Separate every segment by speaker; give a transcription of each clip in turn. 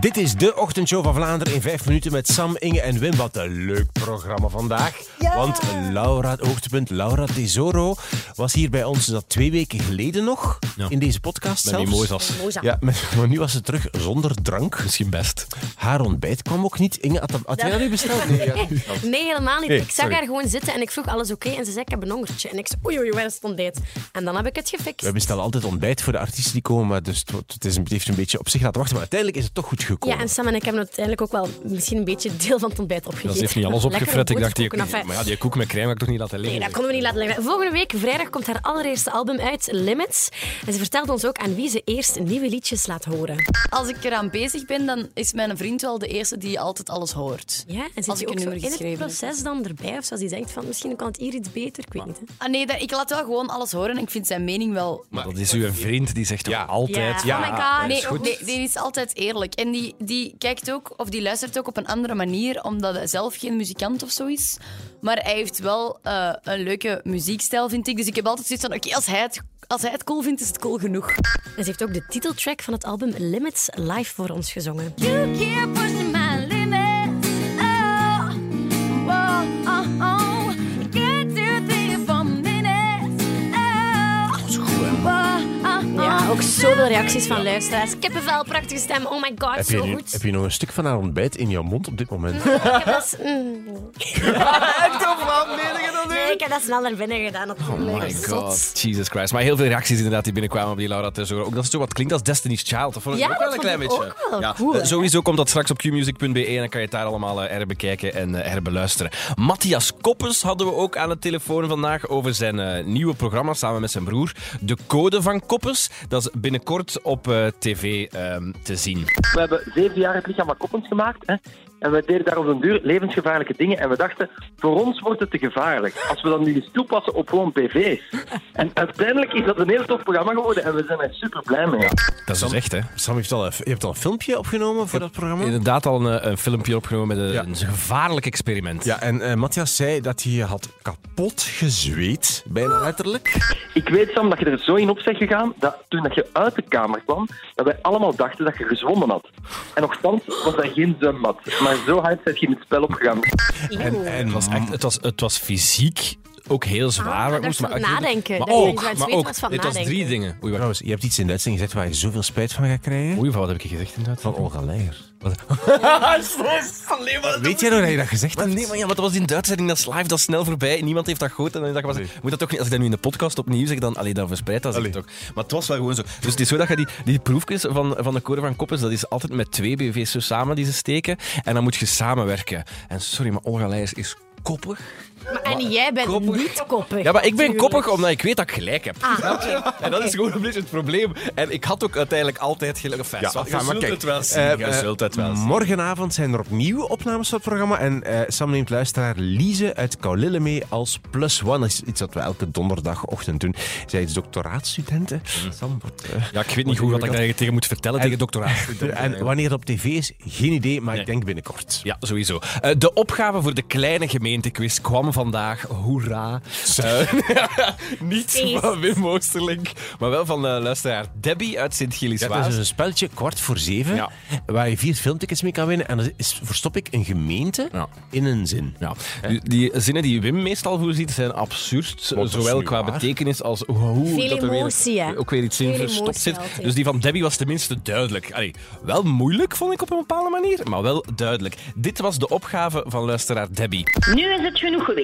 Speaker 1: Dit is de ochtendshow van Vlaanderen in 5 minuten met Sam, Inge en Wim. Wat een leuk programma vandaag.
Speaker 2: Ja.
Speaker 1: Want Laura, het hoogtepunt Laura Tesoro was hier bij ons dat twee weken geleden nog.
Speaker 3: Ja.
Speaker 1: In deze podcast
Speaker 3: Met
Speaker 1: zelfs.
Speaker 3: mimosas.
Speaker 2: Moza.
Speaker 1: Ja, met- maar nu was ze terug zonder drank.
Speaker 3: Misschien best.
Speaker 1: Haar ontbijt kwam ook niet. Inge, had, had jij dat niet besteld? Nee, ja.
Speaker 2: Nee, helemaal niet.
Speaker 1: Nee,
Speaker 2: ik zag
Speaker 1: sorry.
Speaker 2: haar gewoon zitten en ik vroeg alles oké. En ze zei, ik heb een hongertje. En ik zei, oei, oei, waar is het ontbijt? En dan heb ik het gefixt.
Speaker 1: We bestellen altijd ontbijt voor de artiesten die komen, maar dus het, wordt- het, is een, het heeft een beetje op zich laten wachten. Maar uiteindelijk is het toch goed gekomen.
Speaker 2: Ja, en Sam en ik hebben uiteindelijk ook wel misschien een beetje deel van het ontbijt opgegeten.
Speaker 3: Dat heeft niet alles
Speaker 2: Lekkere
Speaker 3: opgefret. Ik dacht, die,
Speaker 2: boterkoeken, enfin,
Speaker 3: maar ja, die koek met crème heb ik toch niet laten
Speaker 2: Nee,
Speaker 3: liggen.
Speaker 2: dat konden we niet laten liggen. Volgende week, vrijdag, komt haar allereerste album uit, Limits. En ze vertelde ons ook aan wie ze eerst nieuwe liedjes laat horen.
Speaker 4: Als ik eraan bezig ben, dan is mijn vriend wel de eerste die altijd alles hoort.
Speaker 2: Ja, en zit
Speaker 4: Als
Speaker 2: je
Speaker 4: ik
Speaker 2: ook
Speaker 4: een
Speaker 2: zo
Speaker 4: nummer
Speaker 2: in het
Speaker 4: geschreven heb.
Speaker 2: proces dan erbij? Of zoals die denkt van, misschien kan het hier iets beter, ik weet niet. Hè.
Speaker 4: Ah, nee, daar- ik laat wel gewoon alles horen en ik vind zijn mening wel...
Speaker 3: Maar dat is uw vriend die zegt toch
Speaker 1: Ja.
Speaker 3: altijd.
Speaker 2: Ja.
Speaker 3: Ja,
Speaker 2: Oh my God.
Speaker 3: dat is
Speaker 4: Nee,
Speaker 3: goed.
Speaker 4: nee, die is altijd eerlijk. En die, die kijkt ook, of die luistert ook op een andere manier, omdat hij zelf geen muzikant of zo is. Maar hij heeft wel eh, een leuke muziekstijl, vind ik. Dus ik heb altijd zoiets van, oké, als, hij het- als hij het cool vindt, is het cool genoeg.
Speaker 2: En ze heeft ook de titeltrack van het album Limits live voor ons gezongen.
Speaker 5: You keep pushing my limits. Oh, whoa, oh, oh. You can't do things for minutes. Oh, whoa, oh,
Speaker 2: Ja,
Speaker 5: oh.
Speaker 2: ook zoveel reacties van luisteraars. Kippenvel, prachtige stem, oh my god,
Speaker 1: heb, je
Speaker 2: zo
Speaker 1: nu-
Speaker 2: goed.
Speaker 1: heb je nog een stuk van haar ontbijt in jouw mond op dit moment?
Speaker 2: Ik heb dat... mm, nee, ik heb dat snel naar binnen gedaan. Oh my
Speaker 3: Jesus Christ. Maar heel veel reacties inderdaad die binnenkwamen op die Laura Tesoro. Ook dat het zo wat klinkt als Destiny's Child. Dat vond ik
Speaker 2: Ja,
Speaker 3: ook wel
Speaker 2: dat
Speaker 3: een klein
Speaker 2: vond ik
Speaker 3: beetje.
Speaker 2: ook wel
Speaker 3: ja.
Speaker 2: cool,
Speaker 3: eh,
Speaker 2: hè?
Speaker 3: sowieso komt dat straks op qmusic.be en dan kan je het daar allemaal eh, herbekijken en eh, herbeluisteren. Matthias Koppens hadden we ook aan de telefoon vandaag over zijn eh, nieuwe programma samen met zijn broer. De Code van Koppens. Dat is binnenkort op eh, tv ehm, te zien.
Speaker 6: We hebben zeven jaar het lichaam aan koppens gemaakt. Hè? En we deden daar op een duur levensgevaarlijke dingen. En we dachten, voor ons wordt het te gevaarlijk. Als we dat nu eens toepassen op gewoon PV's. En uiteindelijk is dat een heel tof programma geworden. En we zijn er super blij mee.
Speaker 3: Dat is dus echt, hè?
Speaker 1: Sam, heeft al een, je hebt al een filmpje opgenomen voor dat programma?
Speaker 3: Inderdaad al een, eh, een filmpje opgenomen met een,
Speaker 1: Ja.
Speaker 3: een gevaarlijk experiment.
Speaker 1: Ja, en eh, Matthias zei dat hij had kapot gezweet, bijna letterlijk.
Speaker 6: Ik weet, Sam, dat je er zo in op bent gegaan. Dat toen dat je uit de kamer kwam, dat wij allemaal dachten dat je gezwommen had. En nogthans was dat geen zwembad. Maar zo hard zit je in het spel opgegaan.
Speaker 1: En, en
Speaker 3: Het was, echt, het, was, het was fysiek ook heel zwaar.
Speaker 2: Ah,
Speaker 3: We
Speaker 2: dat
Speaker 3: moesten
Speaker 2: is van
Speaker 3: actief-
Speaker 2: nadenken.
Speaker 3: Maar
Speaker 2: Dat je
Speaker 3: ook,
Speaker 2: iets aan het
Speaker 3: maar
Speaker 2: weten
Speaker 3: ook.
Speaker 2: was van
Speaker 3: dit was drie
Speaker 2: nadenken.
Speaker 3: dingen. Oei, wacht.
Speaker 1: trouwens, je hebt iets in de uitzending gezegd waar je zoveel spijt van gaat krijgen.
Speaker 3: Oei, wat heb ik gezegd inderdaad?
Speaker 1: Van Olga Leijer.
Speaker 3: Wat?
Speaker 1: Weet jij nog dat je dat gezegd
Speaker 3: Maar
Speaker 1: hebt?
Speaker 3: nee, maar ja, maar dat was in de uitzending, dat is live, dat is snel voorbij. Niemand heeft dat gehoord. En dan dacht ik, was, moet dat toch niet, als ik dat nu in de podcast opnieuw zeg, dan, allee, dan verspreidt dat zich
Speaker 1: Allee.
Speaker 3: toch. Maar het was wel gewoon zo. Dus het is zo dat je die, die proefjes van, van de code van Koppens, dat is altijd met twee BV's zo samen die ze steken. En dan moet je samenwerken. En sorry, maar Olga Leijers is koppig.
Speaker 2: Maar, en jij bent
Speaker 3: Koppig.
Speaker 2: niet koppig.
Speaker 3: Ja, maar ik ben
Speaker 2: Tuurlijk.
Speaker 3: koppig omdat ik weet dat ik gelijk heb.
Speaker 2: Ah, oké.
Speaker 3: En dat is gewoon een beetje het probleem. En ik had ook uiteindelijk altijd gelijk. Enfin,
Speaker 1: Ja,
Speaker 3: zwart,
Speaker 1: enfin, maar kijk,
Speaker 3: zien.
Speaker 1: eh,
Speaker 3: Je zult het wel zien.
Speaker 1: Morgenavond zijn er opnieuw opnames van het programma. En eh, Sam neemt luisteraar Lize uit Kaulille mee als plus one. Dat is iets dat we elke donderdagochtend doen. Zij is doctoraatstudenten. Sam, wat, eh,
Speaker 3: Ja, ik weet niet hoe wat ik daar tegen moet vertellen tegen doctoraat.
Speaker 1: en wanneer het op tv is, geen idee, maar ik denk binnenkort.
Speaker 3: Ja, sowieso. Eh, de opgave voor de kleine gemeentequiz kwam vandaag. Hoera. Eh, niet
Speaker 2: Jezus.
Speaker 3: van Wim Oosterlink, maar wel van eh, luisteraar Debbie uit
Speaker 1: Ja, dat
Speaker 3: Sint-Gilles-Waas.
Speaker 1: is dus een spelletje, kwart voor zeven,
Speaker 3: Ja.
Speaker 1: waar je vier filmtickets mee kan winnen. En dan is, verstop ik een gemeente
Speaker 3: Ja.
Speaker 1: in een zin.
Speaker 3: Ja, die, die zinnen die Wim meestal voorziet zijn absurd.
Speaker 1: dat is
Speaker 3: zowel
Speaker 1: niet
Speaker 3: qua
Speaker 1: waar.
Speaker 3: betekenis als hoe
Speaker 2: Veel
Speaker 3: dat er
Speaker 2: emotie, hè?
Speaker 3: weer, ook weer iets in
Speaker 2: Veel
Speaker 3: verstopt
Speaker 2: emotie
Speaker 3: zit.
Speaker 2: altijd.
Speaker 3: Dus die van Debbie was tenminste duidelijk. Allee, wel moeilijk, vond ik op een bepaalde manier, maar wel duidelijk. Dit was de opgave van luisteraar Debbie.
Speaker 7: Nu is het genoeg geweest.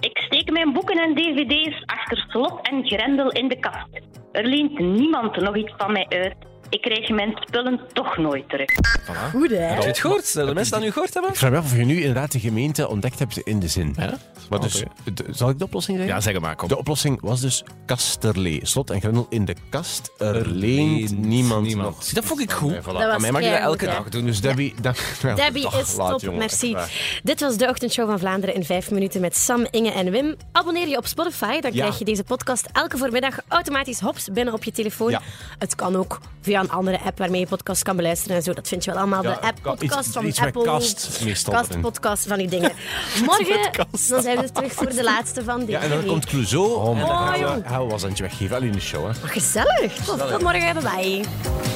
Speaker 7: Ik steek mijn boeken en dvd's achter slot en grendel in de kast. Er leent niemand nog iets van mij uit. Ik krijg mijn spullen toch nooit terug.
Speaker 2: Goed, hè?
Speaker 3: Heb je het gehoord? Zullen de mensen dat nu gehoord hebben?
Speaker 1: Ik vraag me af of je nu inderdaad de gemeente ontdekt hebt in de zin. Maar dus, d- zal ik de oplossing zeggen?
Speaker 3: Ja, zeg het maar, kom.
Speaker 1: De oplossing was dus Kasterlee. Slot en grendel in de kast. Er leent
Speaker 3: leent
Speaker 1: niemand,
Speaker 3: niemand.
Speaker 1: nog.
Speaker 3: Zie, dat vond ik goed.
Speaker 1: Nee, voilà.
Speaker 2: was
Speaker 1: Aan mij mag je dat
Speaker 2: keihard,
Speaker 1: elke
Speaker 2: hè?
Speaker 1: dag doen. Dus Debbie, dank wel.
Speaker 2: Debbie
Speaker 1: Dag,
Speaker 2: is
Speaker 1: laat,
Speaker 2: top,
Speaker 1: jongen,
Speaker 2: merci.
Speaker 1: echt waar.
Speaker 2: Dit was de ochtendshow van Vlaanderen in 5 minuten met Sam, Inge en Wim. Abonneer je op Spotify, dan
Speaker 1: Ja.
Speaker 2: krijg je deze podcast elke voormiddag automatisch hops binnen op je telefoon.
Speaker 1: Ja.
Speaker 2: Het kan ook via een andere app waarmee je podcast kan beluisteren en zo. Dat vind je wel allemaal.
Speaker 1: Ja,
Speaker 2: de app
Speaker 1: kan-
Speaker 2: podcast
Speaker 1: iets-
Speaker 2: van
Speaker 1: iets met
Speaker 2: Apple.
Speaker 1: kast meestal
Speaker 2: Kast,
Speaker 1: erin.
Speaker 2: podcast van die dingen. Morgen dan zijn we terug voor de laatste van deze
Speaker 1: Ja, en dan
Speaker 2: week.
Speaker 1: komt Clouseau. Oh, en dan
Speaker 2: God.
Speaker 1: gaan we-
Speaker 2: Oh, jong.
Speaker 1: gaan we was aan het weggeven. Alleen in de show, hè.
Speaker 2: Gezellig. Tot, tot morgen. Bye bye.